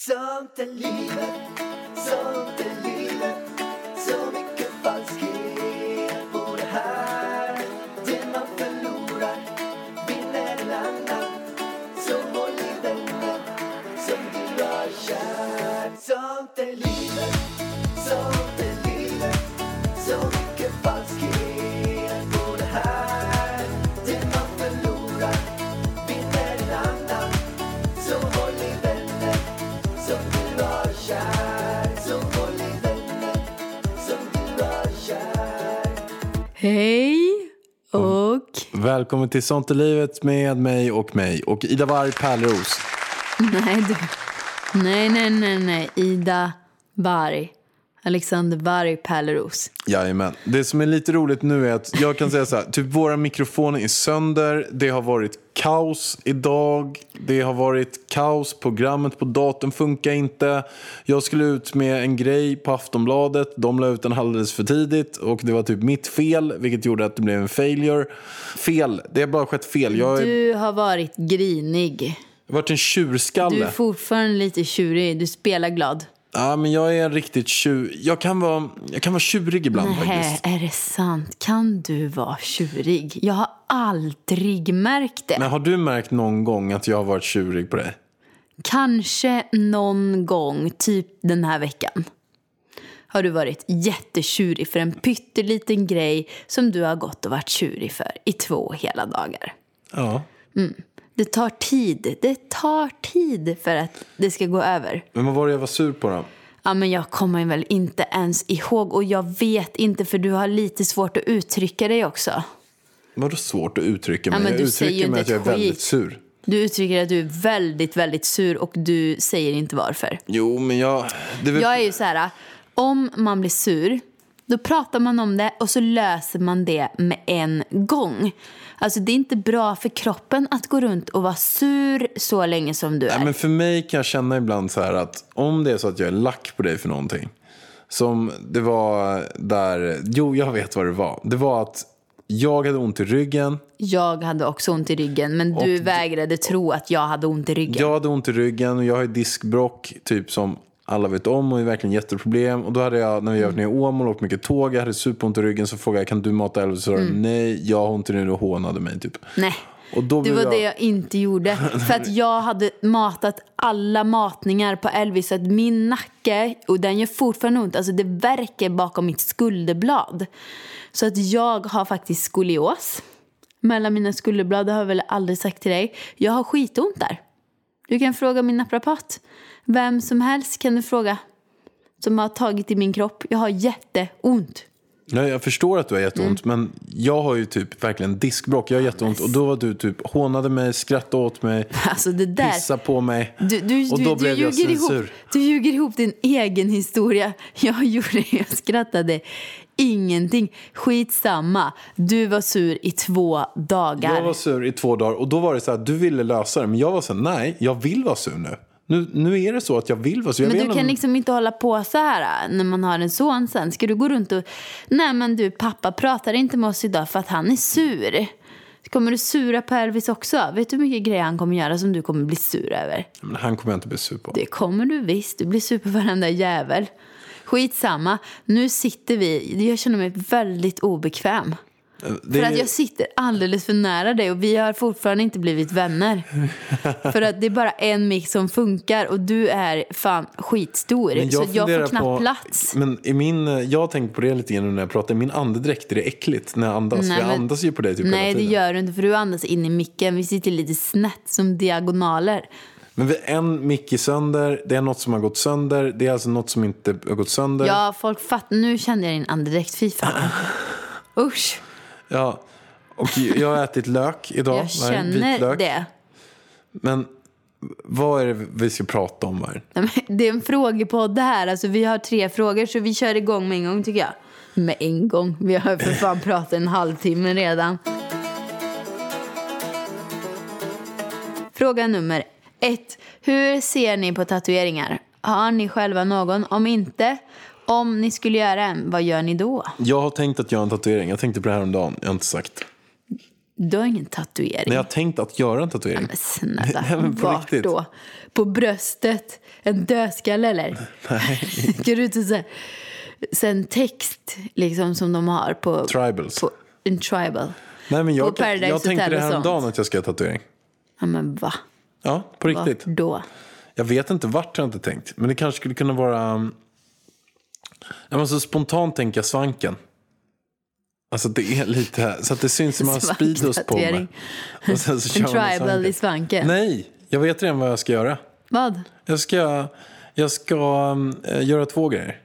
Sånt är livet, sånt är livet Så mycket falskhet på det här Det man förlorar vinner en annan Så håll i vännen som du har kär Sånt är livet, sånt är livet Så mycket falskhet på det här Det man förlorar vinner en annan Så håll i vännen som du har kär Så håll i vännen som du har kär Hej och Välkommen till Sånt är livet med mig och mig och Ida Warg Pärleros. nej du. Nej, nej, nej, nej. Ida Varg. Alexander Varg Pärleros. Jajamän. Det som är lite roligt nu är att jag kan säga så här, typ våra mikrofoner är sönder, det har varit kaos idag, det har varit kaos, programmet på datorn funkar inte. Jag skulle ut med en grej på Aftonbladet, de la ut den alldeles för tidigt och det var typ mitt fel, vilket gjorde att det blev en failure. Fel, det har bara skett fel. Jag har Du har varit grinig. varit en tjurskalle. Du är fortfarande lite tjurig. Du spelar glad. Ja, men jag är en riktigt tjur... Jag kan vara, jag kan vara tjurig ibland Nej, faktiskt. är det sant? Kan du vara tjurig? Jag har aldrig märkt det. Men har du märkt någon gång att jag har varit tjurig på dig? Kanske någon gång, typ den här veckan, har du varit jättetjurig för en pytteliten grej som du har gått och varit tjurig för i två hela dagar. Ja. Det tar tid. Det tar tid för att det ska gå över. Men vad var det jag var sur på då? Ja, men jag kommer väl inte ens ihåg och jag vet inte för du har lite svårt att uttrycka dig också. Vadå svårt att uttrycka mig? men jag du säger ju uttrycker mig att inte jag är ett väldigt skit. sur. Du uttrycker att du är väldigt, väldigt sur och du säger inte varför. Jo, men jag... Det är väl... Jag är ju så här, om man blir sur, då pratar man om det och så löser man det med en gång. Alltså det är inte bra för kroppen att gå runt och vara sur så länge som du är. Nej, men för mig kan jag känna ibland så här att om det är så att jag är lack på dig för någonting. Som det var där... Jo, jag vet vad det var. Det var att jag hade ont i ryggen. Jag hade också ont i ryggen men du vägrade tro att jag hade ont i ryggen. Jag hade ont i ryggen och jag har ju diskbrock typ som alla vet om och är verkligen jätteproblem. Och då hade jag, när vi har varit nere i Åmål och åkt mycket tåg, jag hade superont i ryggen. Så frågade jag, kan du mata Elvis? Så sa de, nej, jag har ont i ryggen och hånade mig typ. Nej. Och då Mm. Det blev var jag, det jag inte gjorde. För att jag hade matat alla matningar på Elvis. Så att min nacke, och den gör fortfarande ont, alltså det verkar bakom mitt skulderblad. Så att jag har faktiskt skolios. Mellan mina skulderblad, det har jag väl aldrig sagt till dig. Jag har skitont där. Du kan fråga min naprapat. Vem som helst kan du fråga. Som har tagit i min kropp. Jag har jätteont. Nej, jag förstår att du har jätteont, Mm. men jag har ju typ verkligen diskbrock. Jag har jätteont och då var du typ hånade mig, skrattade åt mig, Alltså det där. pissade på mig. Du, du, och du, då du, blev jag ljuger ihop, censur. du ljuger ihop din egen historia. Jag gjorde jag skrattade ingenting. Skitsamma, du var sur i två dagar. Jag var sur i två dagar och då var det så här, du ville lösa det. Men jag var så här, nej, jag vill vara sur nu. Nu, nu är det så att jag vill vara sur. Jag men vet du inte kan om- liksom inte hålla på så här äh, när man har en son sen. Ska du gå runt och... Nej men du, pappa pratar inte med oss idag för att han är sur. Kommer du sura på Elvis också? Vet du hur mycket grejer han kommer göra som du kommer bli sur över? Men han kommer jag inte bli sur på. Det kommer du visst. Du blir sur på varenda jävel. Skitsamma. Nu sitter vi. Jag känner mig väldigt obekväm. Eh, Det För är- att jag sitter alldeles för nära dig och vi har fortfarande inte blivit vänner. för att det är bara en mick som funkar och du är fan skitstor. så jag funderar får knappt plats. Men i min, eh, jag har tänkt på det lite grann nu när jag pratar. I min andedräkt är det äckligt när jag andas. Nej, för jag men- andas ju på dig typ Nej, hela det tiden. gör du inte för du andas in i micken. Vi sitter lite snett som diagonaler. Men vi- en mick är sönder, det är något som har gått sönder. Det är alltså något som inte har gått sönder. Ja, folk fattar. Nu kände jag din andedräkt. Fy fan. Usch. Ja. Och jag har ätit lök idag. Jag Varg, känner vitlök. det. Men vad är det vi ska prata om här? Nej, men Det är en frågepodd det här. Alltså, vi har tre frågor så vi kör igång med en gång tycker jag. Med en gång. Vi har för fan pratat en halvtimme redan. Fråga nummer ett. Hur ser ni på tatueringar? Har ni själva någon? Om inte, om ni skulle göra en, vad gör ni då? Jag har tänkt att göra en tatuering. Jag tänkte på det här om dagen. Jag har inte sagt. Du har ingen tatuering. Men jag har tänkt att göra en tatuering. Men snälla, Nej, men på vart riktigt. då? På bröstet? En dödskalle eller? Nej. Ska du inte säga sen text liksom som de har på... Tribals. På, en tribal. Nej, men på jag, jag, Paradise jag tänkte Hotel det och här om sånt. dagen att jag ska ha tatuering. Ja men va? Ja, på Vart riktigt. då? Jag vet inte vart jag inte tänkt. Men det kanske skulle kunna vara... um, Jag måste spontant tänka svanken. Alltså det är lite... Så att det syns som man har speedos på mig. Svanktatuering. Och sen så kör En man med tribal i svanken? Nej, jag vet redan vad jag ska göra. Vad? Jag ska, jag ska um, eh, göra två grejer.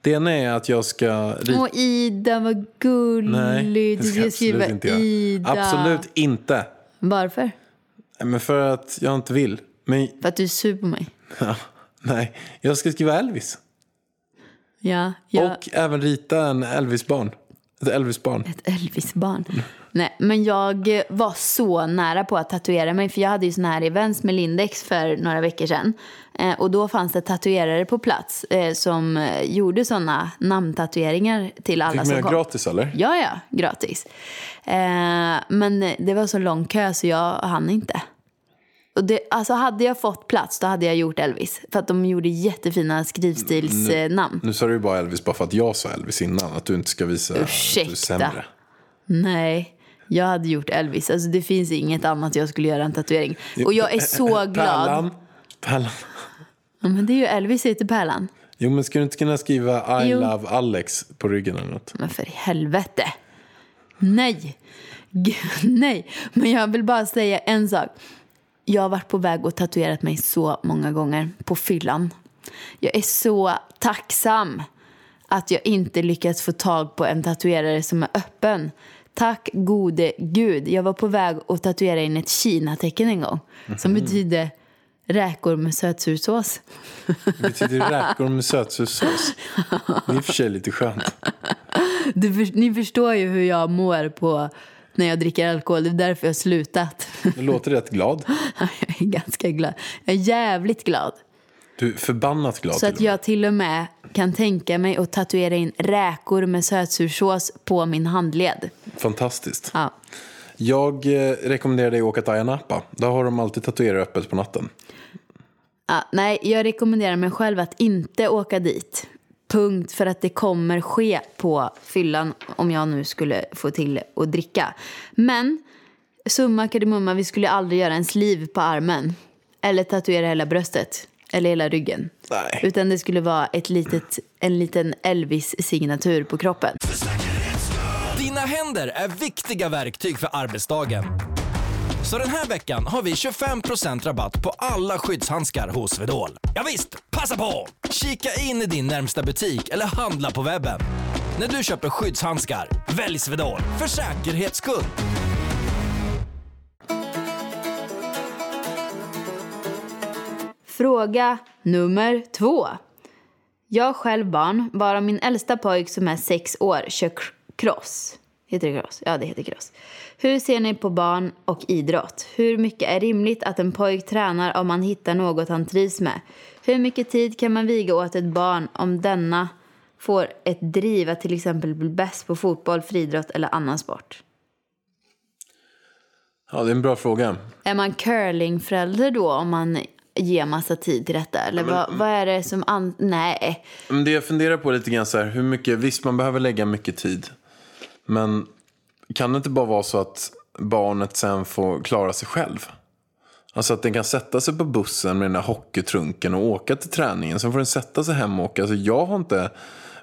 Det ena är att jag ska rita... Och Ida, vad gullig. Nej, det du ska ska jag skriva absolut inte göra. Ida. Absolut inte. Varför? Nej, Men för att jag inte vill. Men, För att du är sur på mig. nej, jag ska skriva Elvis. Ja, jag... Och även rita en Elvis-barn. Ett Elvis-barn. Ett Elvis-barn. Nej, men jag eh, var så nära på att tatuera mig. För jag hade ju sån här events med Lindex för några veckor sedan. Eh, och då fanns det tatuerare på plats eh, som eh, gjorde såna namntatueringar till alla Fick man som göra kom. gratis eller? Ja, ja, gratis. Eh, men det var så lång kö så jag hann inte. Och det, alltså hade jag fått plats då hade jag gjort Elvis. För att de gjorde jättefina eh, skrivstilsnamn. Mm, Nu sa du ju bara Elvis bara för att jag sa Elvis innan. Att du inte ska visa att du är Ursäkta. sämre. Nej, jag hade gjort Elvis. Alltså det finns inget annat jag skulle göra än tatuering. Och jag är så glad. Pärlan. Pärlan. Ja, men det är ju Elvis heter Pärlan. Jo men ska du inte kunna skriva I Jo. love Alex på ryggen eller något? Men för i helvete. Nej. Gud, nej. Men jag vill bara säga en sak. Jag har varit på väg och tatuerat mig så många gånger på fyllan. Jag är så tacksam att jag inte lyckats få tag på en tatuerare som är öppen. Tack gode gud. Jag var på väg att tatuera in ett Kina-tecken en gång som betyder räkor med sötsursås. Betyder det räkor med sötsursås? Det är i och för sig lite skönt. Du, för- ni förstår ju hur jag mår på när jag dricker alkohol. Det är därför jag har slutat. Du låter rätt glad. Jag är ganska glad. Jag är jävligt glad. Du är förbannat glad Så till att och med. jag till och med kan tänka mig att tatuera in räkor med sötsursås på min handled. Fantastiskt. Ja. Jag eh, rekommenderar dig att åka till Ayia Napa. Där har de alltid tatuerare öppet på natten. Ja, nej, jag rekommenderar mig själv att inte åka dit. Punkt, för att det kommer ske på fyllan om jag nu skulle få till att dricka. Men summa kardemumma, vi skulle aldrig göra en sliv på armen. Eller tatuera hela bröstet. Eller hela ryggen. Nej. Utan det skulle vara ett litet, en liten Elvis-signatur på kroppen. Dina händer är viktiga verktyg för arbetsdagen. Så den här veckan har vi 25% rabatt på alla skyddshandskar hos Swedol. Ja visst, passa på! Kika in i din närmsta butik eller handla på webben. När du köper skyddshandskar, välj Swedol för säkerhets skull. Fråga nummer två. Jag har själv barn, bara min äldsta pojk som är sex år kör k- cross. Heter det cross? Ja, det heter cross. Hur ser ni på barn och idrott? Hur mycket är rimligt att en pojk tränar om man hittar något han trivs med? Hur mycket tid kan man viga åt ett barn om denna får ett driv att till exempel bli bäst på fotboll, friidrott eller annan sport? Ja, det är en bra fråga. Är man curlingförälder då om man ger massa tid till detta? Eller vad, vad är det som... An- Nej. Men det jag funderar på lite grann så här, hur mycket, visst man behöver lägga mycket tid. Men kan det inte bara vara så att barnet sen får klara sig själv? Alltså att den kan sätta sig på bussen med den där hockeytrunken och åka till träningen. Sen får den sätta sig hem och åka. Alltså jag har inte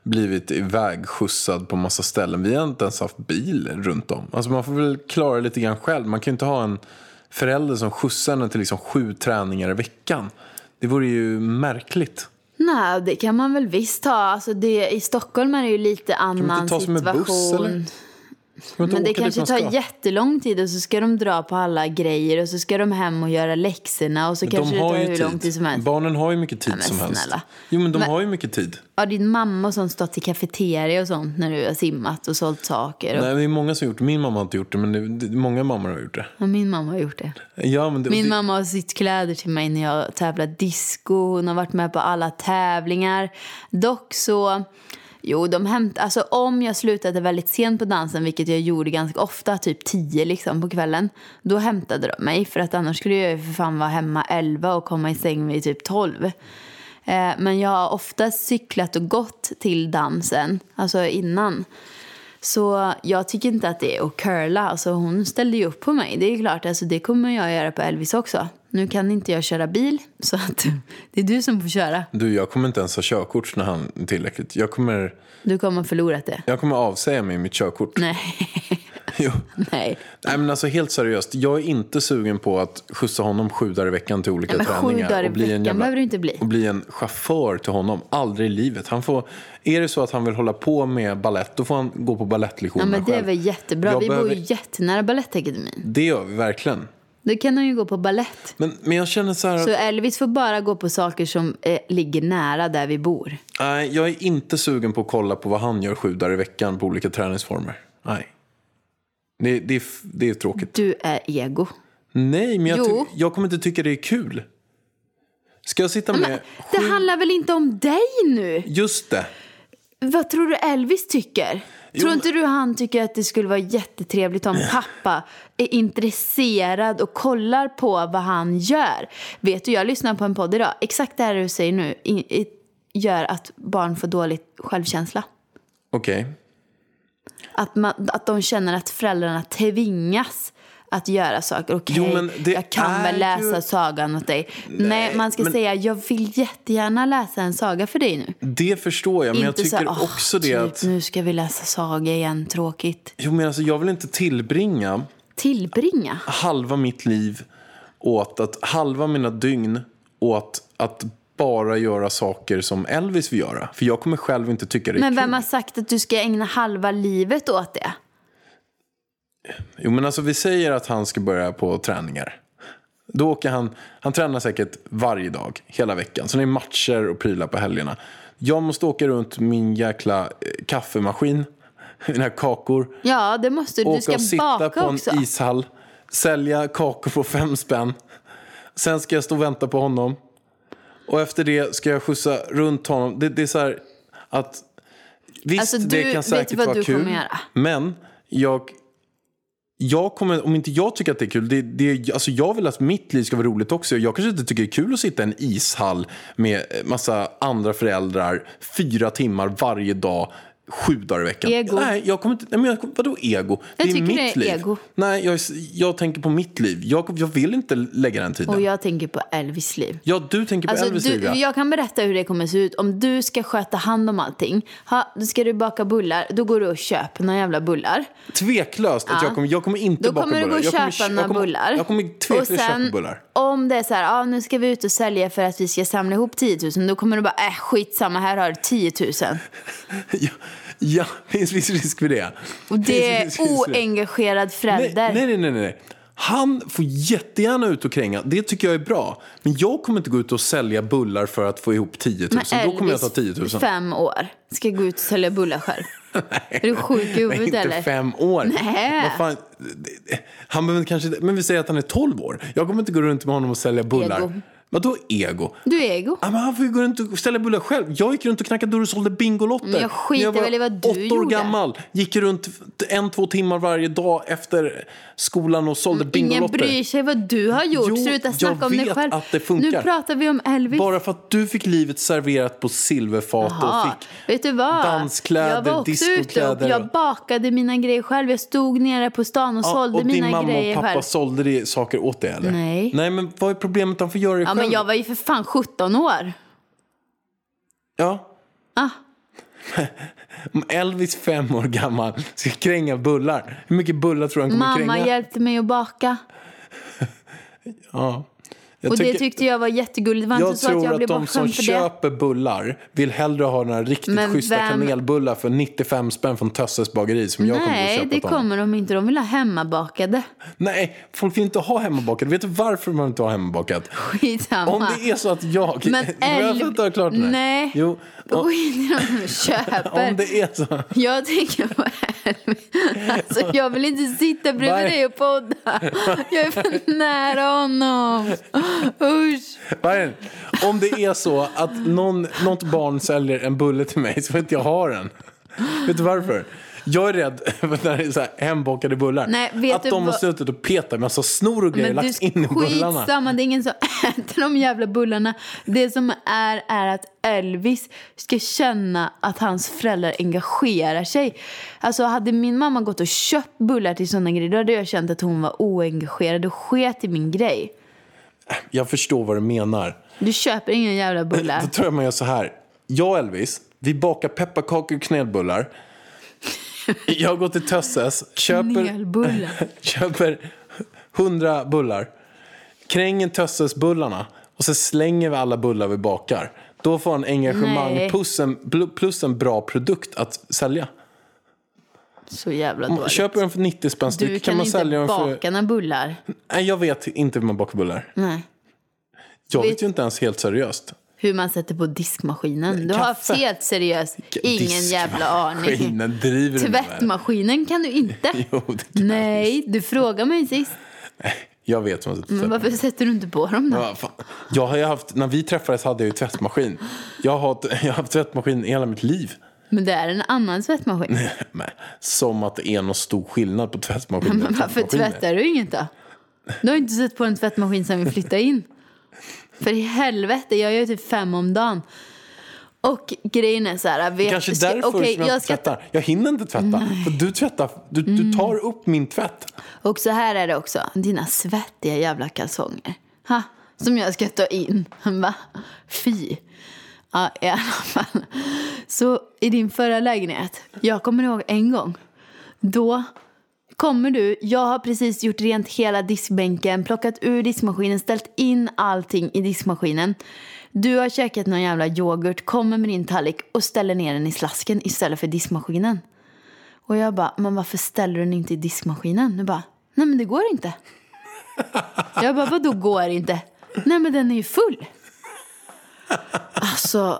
blivit ivägskjutsad på massa ställen. Vi har inte ens haft bil runt om. Alltså man får väl klara det lite grann själv. Man kan ju inte ha en förälder som skjutsar en till liksom sju träningar i veckan. Det vore ju märkligt. Nej, det kan man väl visst ta. Alltså det, I Stockholm är det ju lite annan man inte ta som en buss, situation. eller? Ska man inte Men det åka dit kanske man ska? tar jättelång tid och så ska de dra på alla grejer och så ska de hem och göra läxorna och så kanske det tar hur typ lång tid som helst. Barnen har ju mycket tid men som helst. snälla. Jo men de Men- har ju mycket tid. Har din mamma och sånt stått i kafeteria och sånt när du har simmat och sålt saker? Och... Nej, det är många som har gjort det. Min mamma har inte gjort det men det, det, många mammor har gjort det. Ja, Min mamma har gjort det. Ja, men det Min det, mamma har sytt kläder till mig när jag tävlar disco. Hon har varit med på alla tävlingar. Dock så... Jo, de hämt, alltså om jag slutade väldigt sent på dansen, vilket jag gjorde ganska ofta, typ 10 liksom på kvällen, då hämtade de mig. För att annars skulle jag ju för fan vara hemma 11 och komma i säng vid typ 12. Eh, men jag har ofta cyklat och gått till dansen, alltså innan. Så jag tycker inte att det är att curla. Alltså hon ställde ju upp på mig. Det är ju klart, alltså det kommer jag göra på Elvis också. Nu kan inte jag köra bil, så att det är du som får köra. Du, jag kommer inte ens ha körkort när han tillräckligt. Jag kommer, Du kommer ha förlorat det. jag kommer avsäga mig mitt körkort. Nej. Jo. Nej. Nej men alltså helt seriöst, jag är inte sugen på att skjutsa honom sju dagar i veckan till olika Nej, men sju träningar. dagar i och bli en veckan jävla- behöver du inte bli. Och bli en chaufför till honom, aldrig i livet. Han får, är det så att han vill hålla på med ballett, då får han gå på Ja, balettlektionerna men det är själv. väl jättebra. Jag Vi bor ju behöver- jättenära Balettakademin. Det gör vi verkligen. Då kan hon ju gå på ballett. Men, men jag känner så här, Så att, Elvis får bara gå på saker som eh, ligger nära där vi bor. nej, jag är inte sugen på att kolla på vad han gör sju dagar i veckan på olika träningsformer. Nej. Det, det, är f- det är tråkigt. Du är ego. Nej, men jag, Jo. ty- jag kommer inte tycka det är kul. Ska jag sitta med... Det handlar väl inte om dig nu? Just det. Vad tror du Elvis tycker? tror inte du han tycker att det skulle vara jättetrevligt om pappa är intresserad och kollar på vad han gör? Vet du, jag lyssnade på en podd idag. Exakt det här du säger nu i, i, gör att barn får dålig självkänsla. Okej. Att, man, att de känner att föräldrarna tvingas att göra saker. Okej, Jo, men det jag kan väl är ju- läsa sagan åt dig. Nej, man ska men- säga jag vill jättegärna läsa en saga för dig nu. Det förstår jag, men jag tycker "Åh, också det typ, att... nu ska vi läsa saga igen, tråkigt. Jo, men alltså, jag vill inte tillbringa Tillbringa? halva mitt liv åt att... Halva mina dygn åt att bara göra saker som Elvis vill göra. För jag kommer själv inte tycka det är Men kul. vem har sagt att du ska ägna halva livet åt det? Jo, men alltså vi säger att han ska börja på träningar. Då åker han, han tränar säkert varje dag, hela veckan. Så det är matcher och prylar på helgerna. Jag måste åka runt min jäkla eh, kaffemaskin, mina kakor. Ja, det måste du. Du Åka ska och sitta på baka en också. ishall, sälja kakor på fem spänn. Sen ska jag stå och vänta på honom. Och efter det ska jag skjutsa runt honom. Det, det är så här att... Visst, Alltså, du- det kan vet du säkert vad vara du kul. kommer göra? Men jag... Jag kommer, om inte jag tycker att det är kul, det, det, alltså jag vill att mitt liv ska vara roligt också. Jag kanske inte tycker det är kul att sitta i en ishall med massa andra föräldrar fyra timmar varje dag, sju dagar i veckan. Ego. Nej, jag kommer inte, nej men jag, vadå ego? Jag det är tycker mitt det är liv. ego. Nej, jag, jag tänker på mitt liv. Jag, jag vill inte lägga den tiden. Och jag tänker på Elvis liv. Ja, du tänker på Alltså, Elvis liv, du, ja. jag kan berätta hur det kommer se ut. Om du ska sköta hand om allting, ha, då ska du baka bullar, då går du och köper några jävla bullar. Tveklöst att jag kommer, jag kommer inte Då baka kommer du gå bullar. och Jag kommer- köpa jag några kommer- bullar. Jag kommer tveklöst köpa bullar. om det är så här, ah, nu ska vi ut och sälja för att vi ska samla ihop 10 000, då kommer du bara, äh skitsamma, här har du 10 000. Ja, ja, det finns viss risk för det. Och det är Finns viss risk för oengagerad Nej, förälder. nej, nej, nej, nej. Han får jättegärna ut och kränga. Det tycker jag är bra. Men jag kommer inte gå ut och sälja bullar för att få ihop 10 000. Då kommer jag ta 10 000. fem år, ska gå ut och sälja bullar själv. är du sjuk i Nej, huvudet inte eller? fem år. Nej. Vad fan? Han behöver kanske inte- Men vi säger att han är 12 år. Jag kommer inte gå runt med honom och sälja bullar. Ego. Vadå ego? Du är ego. Ja, men han får ju gå runt och sälja bullar själv. Jag gick runt och knackade dörr och sålde Bingolotter. Men jag skiter När var väl i vad du åtta år gjorde. gammal. Gick runt en, två timmar varje dag efter skolan och sålde Mm, Ingen Bingolotter. bryr sig vad du har gjort. Jo, Sluta jag snacka om dig vet själv. att det funkar. Nu pratar vi om Elvis. Bara för att du fick livet serverat på silverfat Ja, och fick... vet du vad? danskläder, jag var också ute och discokläder. jag bakade mina grejer själv. Jag stod nere på stan och Ja, sålde och din mina mamma grejer och pappa själv. sålde det, saker åt dig eller? Nej. Nej men vad är problemet? Han får göra det Ja, själv. men jag var ju för fan 17 år. Ja. Ah. Om Elvis fem år gammal ska kränga bullar. Hur mycket bullar tror du han kommer Mamma kränga? hjälpte mig att baka. Jag Och det tycker- tyckte jag var jättegulligt. Det var jag inte så att tror jag att, blev de som bortskämd för det. köper bullar vill hellre ha några riktigt Men schyssta vem- kanelbullar för 95 spänn från Tösses bageri som jag kommer att Nej, köpa det åt honom. kommer de inte. De vill ha hemmabakade. Nej, folk vill inte ha hemmabakat. Vet du varför man inte har hemmabakat? Skitsamma. Om det är så att jag... Men Får Elv- jag förklara klart det här? Nej. Jo, om, Gå in i de och köper. om det är så... Jag tänker på Elvis. Alltså, jag vill inte sitta bredvid Nej. dig och podda. Jag är för nära honom. Usch! Vargen, om det är så att någon, något barn säljer en bulle till mig så får inte jag ha den. Vet du varför? Jag är rädd för när det är så här hembakade bullar. Nej, vet att du de har vad- suttit och petat med massa snor och grejer Men lagt in i bullarna. skitsamma, det är ingen som äter de jävla bullarna. Det som är, är att Elvis ska känna att hans föräldrar engagerar sig. Alltså hade min mamma gått och köpt bullar till sådana grejer då hade jag känt att hon var oengagerad och sket i min grej. Jag förstår vad du menar. Du köper ingen jävla bullar. Då tror jag man gör så här. Jag och Elvis, vi bakar pepparkakor och knelbullar. Jag går till Tösses, köper, Knelbullar. köper 100 bullar. Kränger Tösses-bullarna och så slänger vi alla bullar vi bakar. Då får han engagemang Nej. plus en, bl- plus en bra produkt att sälja. Så jävla dåligt. Köper den för 90 spänn styck du kan, kan, man inte sälja den för... baka några bullar. Nej, jag vet inte hur man bakar bullar. Nej. Jag vet Vet- ju inte ens helt seriöst. Hur man sätter på diskmaskinen. Du har haft kaffe. helt seriöst ingen jävla aning. Diskmaskinen, driver du med mig? Tvättmaskinen kan du inte. Jo, det kan jag Nej, du frågade mig sist. Jag vet vad jag Men sätter. varför sätter du inte på dem då? Ja, fan. Jag har ju haft, när vi träffades hade jag ju tvättmaskin. Jag har, haft- jag har haft tvättmaskin i hela mitt liv. Men det är en annan tvättmaskin. Men, som att det är någon stor skillnad på tvättmaskinen Men varför tvättar du inget då? Du har ju inte sett på en tvättmaskin sedan vi flyttade in. För i helvete, jag gör typ fem om dagen. Och grejen är så här... Vet, Kanske ska- därför okej, som jag, jag inte ska Mm. tvättar. Jag hinner inte tvätta. För du tvättar, du, du tar upp min tvätt. Och så här är det också. Dina svettiga jävla kalsonger. Ha, som jag ska ta in. Va? Fy. Ja, i alla fall. Så i din förra lägenhet, jag kommer ihåg en gång. Då kommer du, jag har precis gjort rent hela diskbänken, plockat ur diskmaskinen, ställt in allting i diskmaskinen. Du har käkat någon jävla yoghurt, kommer med din tallrik och ställer ner den i slasken istället för diskmaskinen. Och jag bara, men varför ställer du den inte i diskmaskinen? Du bara, nej men det går inte. Jag bara, vadå går inte? Nej men den är ju full. Alltså,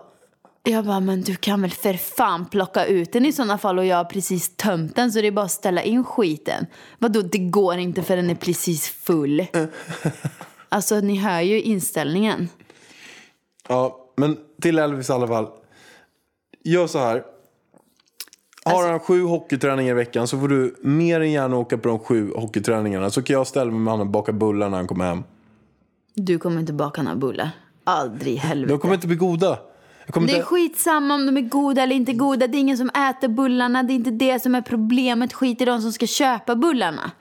jag bara, men du kan väl för fan plocka ut den i sådana fall och jag har precis tömt den så det är bara att ställa in skiten. Vadå, det går inte för den är precis full. Alltså ni hör ju inställningen. Ja, men till Elvis i alla fall. Gör så här. Alltså- Har han sju hockeyträningar i veckan så får du mer än gärna åka på de sju hockeyträningarna. Så kan jag ställa mig med honom och baka bullar när han kommer hem. Du kommer inte baka några bullar. Aldrig i helvete. De kommer inte bli goda. Jag kommer Det är inte... skitsamma om de är goda eller inte goda. Det är ingen som äter bullarna. Det är inte det som är problemet. Skit i de som ska köpa bullarna.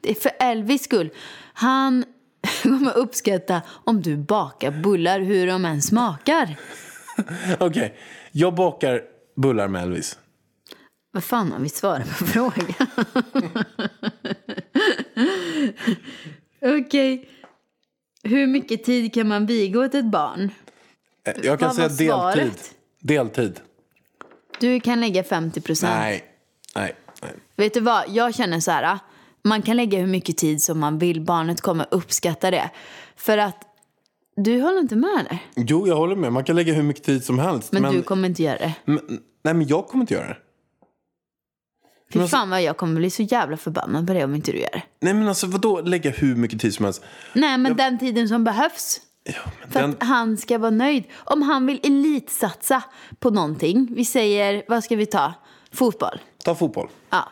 Det är för Elvis skull. Han kommer uppskatta om du bakar bullar hur de än smakar. Okej, jag bakar bullar med Elvis. Vad fan har vi svarat på frågan? Okej. Hur mycket tid kan man viga åt ett barn? Eh, Jag kan Vad säga var deltid. svaret? Deltid. Du kan lägga 50 procent. Nej. Nej. Nej. Vet du vad, jag känner så här. Man kan lägga hur mycket tid som man vill, barnet kommer uppskatta det. För att du håller inte med där. Jo, jag håller med. Man kan lägga hur mycket tid som helst. Men, du kommer inte göra det. men- Nej, men jag kommer inte göra det. Fy alltså- fan vad jag kommer bli så jävla förbannad på det om inte du gör det. Nej, men alltså vadå lägga hur mycket tid som helst? Nej, men den tiden som behövs. Ja, men För den... att han ska vara nöjd. Om han vill elitsatsa på någonting. Vi säger, vad ska vi ta? Fotboll. Ta fotboll. Ja.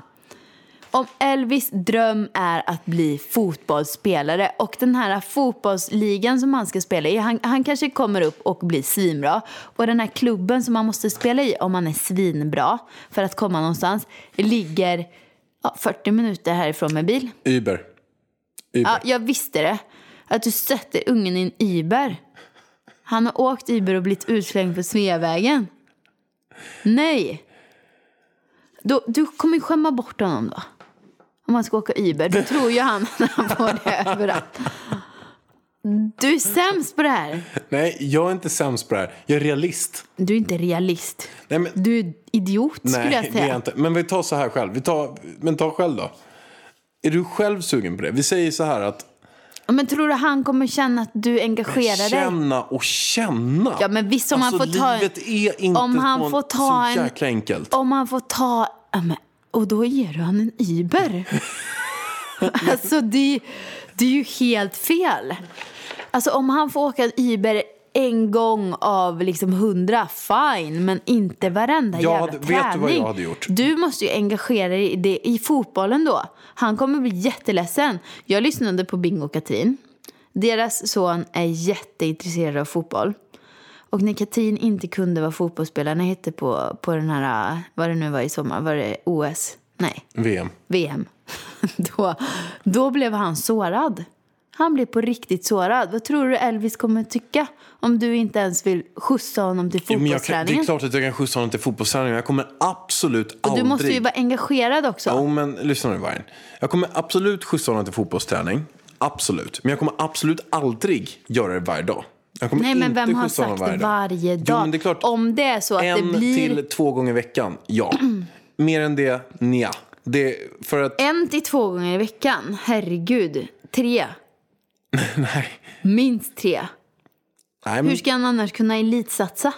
Om Elvis dröm är att bli fotbollsspelare och den här fotbollsligan som han ska spela i, han, han kanske kommer upp och blir svinbra. Och den här klubben som han måste spela i om han är svinbra för att komma någonstans ligger ja, 40 minuter härifrån med bil. Uber. Uber. Ja, jag visste det. Att du sätter ungen i en Uber. Han har åkt Uber och blivit utslängd på Sveavägen. Nej. Då, du kommer ju skämma bort honom då. Om han ska åka Uber. Då tror ju han att han får det överallt. Du är sämst på det här. Nej, jag är inte sämst på det här. Jag är realist. Du är inte realist. Nej, men... Du är idiot skulle jag Nej, det är jag säga. inte. Men vi tar så här själv. Vi tar... Men ta själv då. Är du själv sugen på det? Vi säger så här att Men tror du han kommer känna att du engagerar dig? Känna och känna. Alltså, Ja, men visst, om han får ta en- livet är inte om han så- får ta så en- jäkla enkelt. Om han får ta... ja, men- Och då ger du han en Uber. alltså, det, det är ju helt fel. Alltså om han får åka Uber en gång av liksom hundra, fine. Men inte varenda Jag jävla hade- vet du träning. vad jag hade gjort? Du måste ju engagera dig i, det, i fotbollen då. Han kommer bli jätteledsen. Jag lyssnade på Bingo och Katrin. Deras son är jätteintresserad av fotboll. Och när Katrin inte kunde vad fotbollsspelarna hette på, på den här, vad det nu var i sommar, var det OS? Nej. VM. VM. Då, då blev han sårad. Han blev på riktigt sårad. Vad tror du Elvis kommer tycka om du inte ens vill skjutsa honom till Ja, Men jag kan, det fotbollsträningen? är klart att jag kan skjutsa honom till fotbollsträningen. Jag kommer absolut Och aldrig... du måste ju vara engagerad också. Jo, men lyssna nu Vargen. Jag kommer absolut skjutsa honom till fotbollsträning. Absolut. Men jag kommer absolut aldrig göra det varje dag. Jag kommer Nej, men inte vem har skjutsa honom sagt varje dag? Jo, men det är klart. om det är så att det en blir till två gånger i veckan, ja. Mer än det, nja. Det, för att, en till två gånger i veckan, herregud. Tre, nej. minst tre. nej Hur men, ska han annars kunna elitsatsa?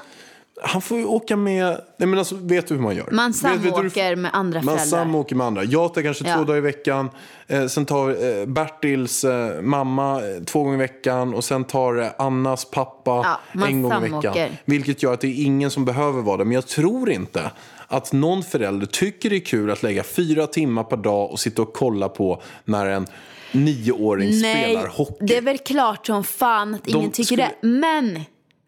Han får ju åka med, nej men alltså vet du hur man gör? Man Vet- vet du hur- samåker med andra Man föräldrar. samåker med andra. Jag tar kanske Ja. två dagar i veckan. Eh, sen tar eh, Bertils eh, mamma eh, två gånger i veckan. Och sen tar eh, Annas pappa Ja, man en gång i samåker. veckan. Vilket gör att det är ingen som behöver vara där. Men jag tror inte att någon förälder tycker det är kul att lägga fyra timmar per dag och sitta och kolla på när en nioåring spelar hockey. det är väl klart som fan att ingen tycker skulle- det. Men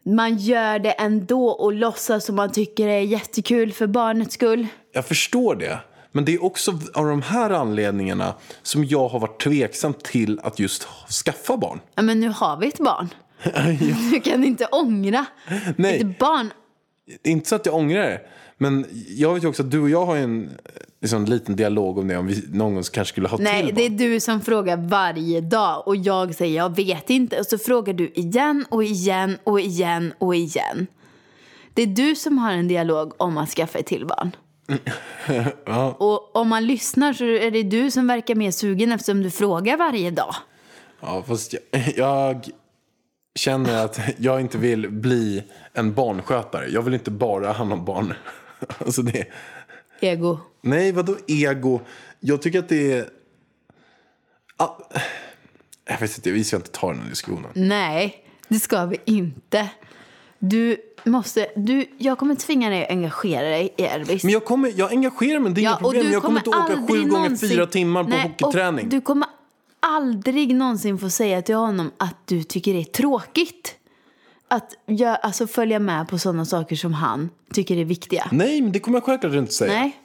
man gör det ändå och låtsas som man tycker det är jättekul för barnets skull. Jag förstår det. Men det är också av de här anledningarna som jag har varit tveksam till att just skaffa barn. Ja, men nu har vi ett barn. Du kan inte ångra Nej. ett barn. Det är inte så att jag ångrar det. Men jag vet ju också att du och jag har ju en liksom, liten dialog om det. Om vi någon gång kanske skulle ha Nej, till det är barn. du som frågar varje dag och jag säger jag vet inte. Och så frågar du igen och igen och igen och igen. Det är du som har en dialog om att skaffa ett till barn. Och om man lyssnar så är det du som verkar mer sugen eftersom du frågar varje dag. Ja, fast jag, jag känner att jag inte vill bli en barnskötare. Jag vill inte bara ha hand om barn. Alltså det, Ego. nej, vadå ego? Jag tycker att det är... Ah, jag vet inte, vi ska inte ta den här diskussionen. Nej, det ska vi inte. Du måste... Du, jag kommer tvinga dig att engagera dig i Elvis. Men jag, kommer, jag engagerar mig, det är inga problem. Jag kommer inte åka aldrig sju gånger någonsin- fyra timmar på Nej, hockeyträning. Och du kommer aldrig någonsin få säga till honom att du tycker det är tråkigt. Att jag, alltså, följa med på sådana saker som han tycker är viktiga. Nej, men det kommer jag självklart inte säga. Nej.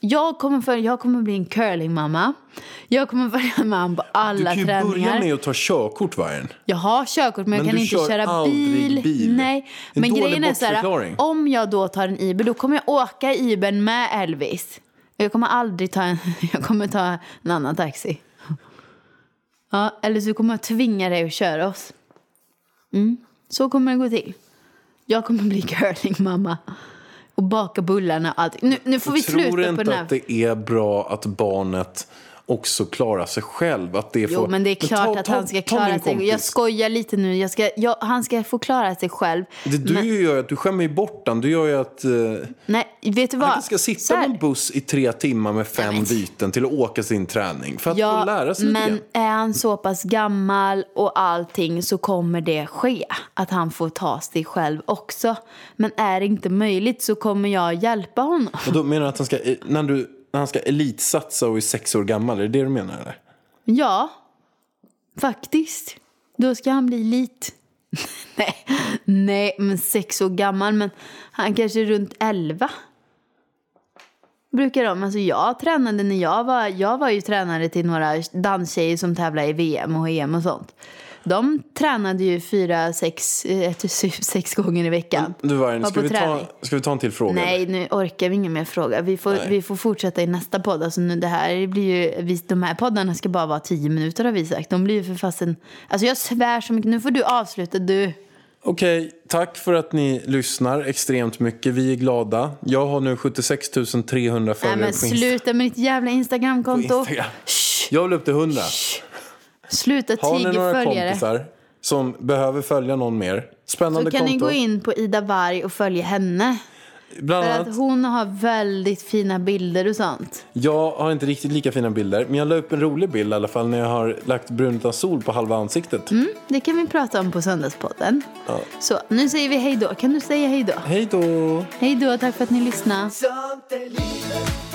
Jag kommer, följa, jag kommer bli en curlingmamma. Jag kommer följa med honom på alla Du kan ju träningar. börja med att ta körkort vargen. Jag har körkort men, Men jag kan du inte kör köra aldrig bil. bil. Nej. En Men dålig grejen är så här, bortförklaring. om jag då tar en Uber då kommer jag åka i Ubern med Elvis. Jag kommer aldrig ta en, jag kommer ta en annan taxi. Ja, eller så kommer jag tvinga dig att köra oss. Mm. Så kommer det gå till. Jag kommer bli curlingmamma. Och baka bullarna och allt. Nu, nu får vi Tror sluta på inte den här. att det är bra att barnet också klarar sig själv? Att det Jo, får... men det är klart ta- att ta- han ska ta min klara sig. kompis. Jag skojar lite nu. Jag ska, jag, han ska få klara sig själv. Det du gör är att du skämmer ju bort den. Du gör ju att eh, Nej, vet du vad? han ska Så sitta här. på en buss i tre timmar med fem men- byten till att åka sin träning. För att Ja, få lära sig lite men grann. är han så pass gammal och allting så kommer det ske. Att han får ta sig själv också. Men är det inte möjligt så kommer jag hjälpa honom. Och då menar du att han ska, eh, när, du, när han ska elitsatsa och är sex år gammal? Är det det du menar eller? Ja, faktiskt. Då ska han bli lit. nej, nej, men sex år gammal. Men han kanske är runt elva. Brukar de. Alltså jag tränade när jag var, jag var ju tränare till några danstjejer som tävlar i VM och EM och sånt. De tränade ju fyra, sex, eh, ett, sex gånger i veckan. Du Vargen, Var ska, på vi ta, träning. ska vi ta en till fråga? eller? Nej, nu orkar vi ingen mer fråga. Vi får, vi får fortsätta i nästa podd. Alltså nu, det här blir ju, vi, de här poddarna ska bara vara tio minuter har vi sagt. De blir ju för fasen... Alltså jag svär så mycket. Nu får du avsluta du. Okej, tack för att ni lyssnar extremt mycket. Vi är glada. Jag har nu 76 300 Nej följare men på Insta- sluta med ditt jävla Instagramkonto. Instagram. Shh, Jag vill upp till 100. sluta Har ni tiga några följare. kompisar som behöver följa någon mer? Då Spännande kan konto. ni gå in på Ida Varg och följa henne. Bland För annat, att hon har väldigt fina bilder och sånt. jag har inte riktigt lika fina bilder, men jag la upp en rolig bild i alla fall när jag har lagt brun utan sol på halva ansiktet. Mm, det kan vi prata om på Söndagspodden. Så nu säger vi hej då. Kan du säga hej då? Hej då! Hej då, tack för att ni lyssnade. Sånt är livet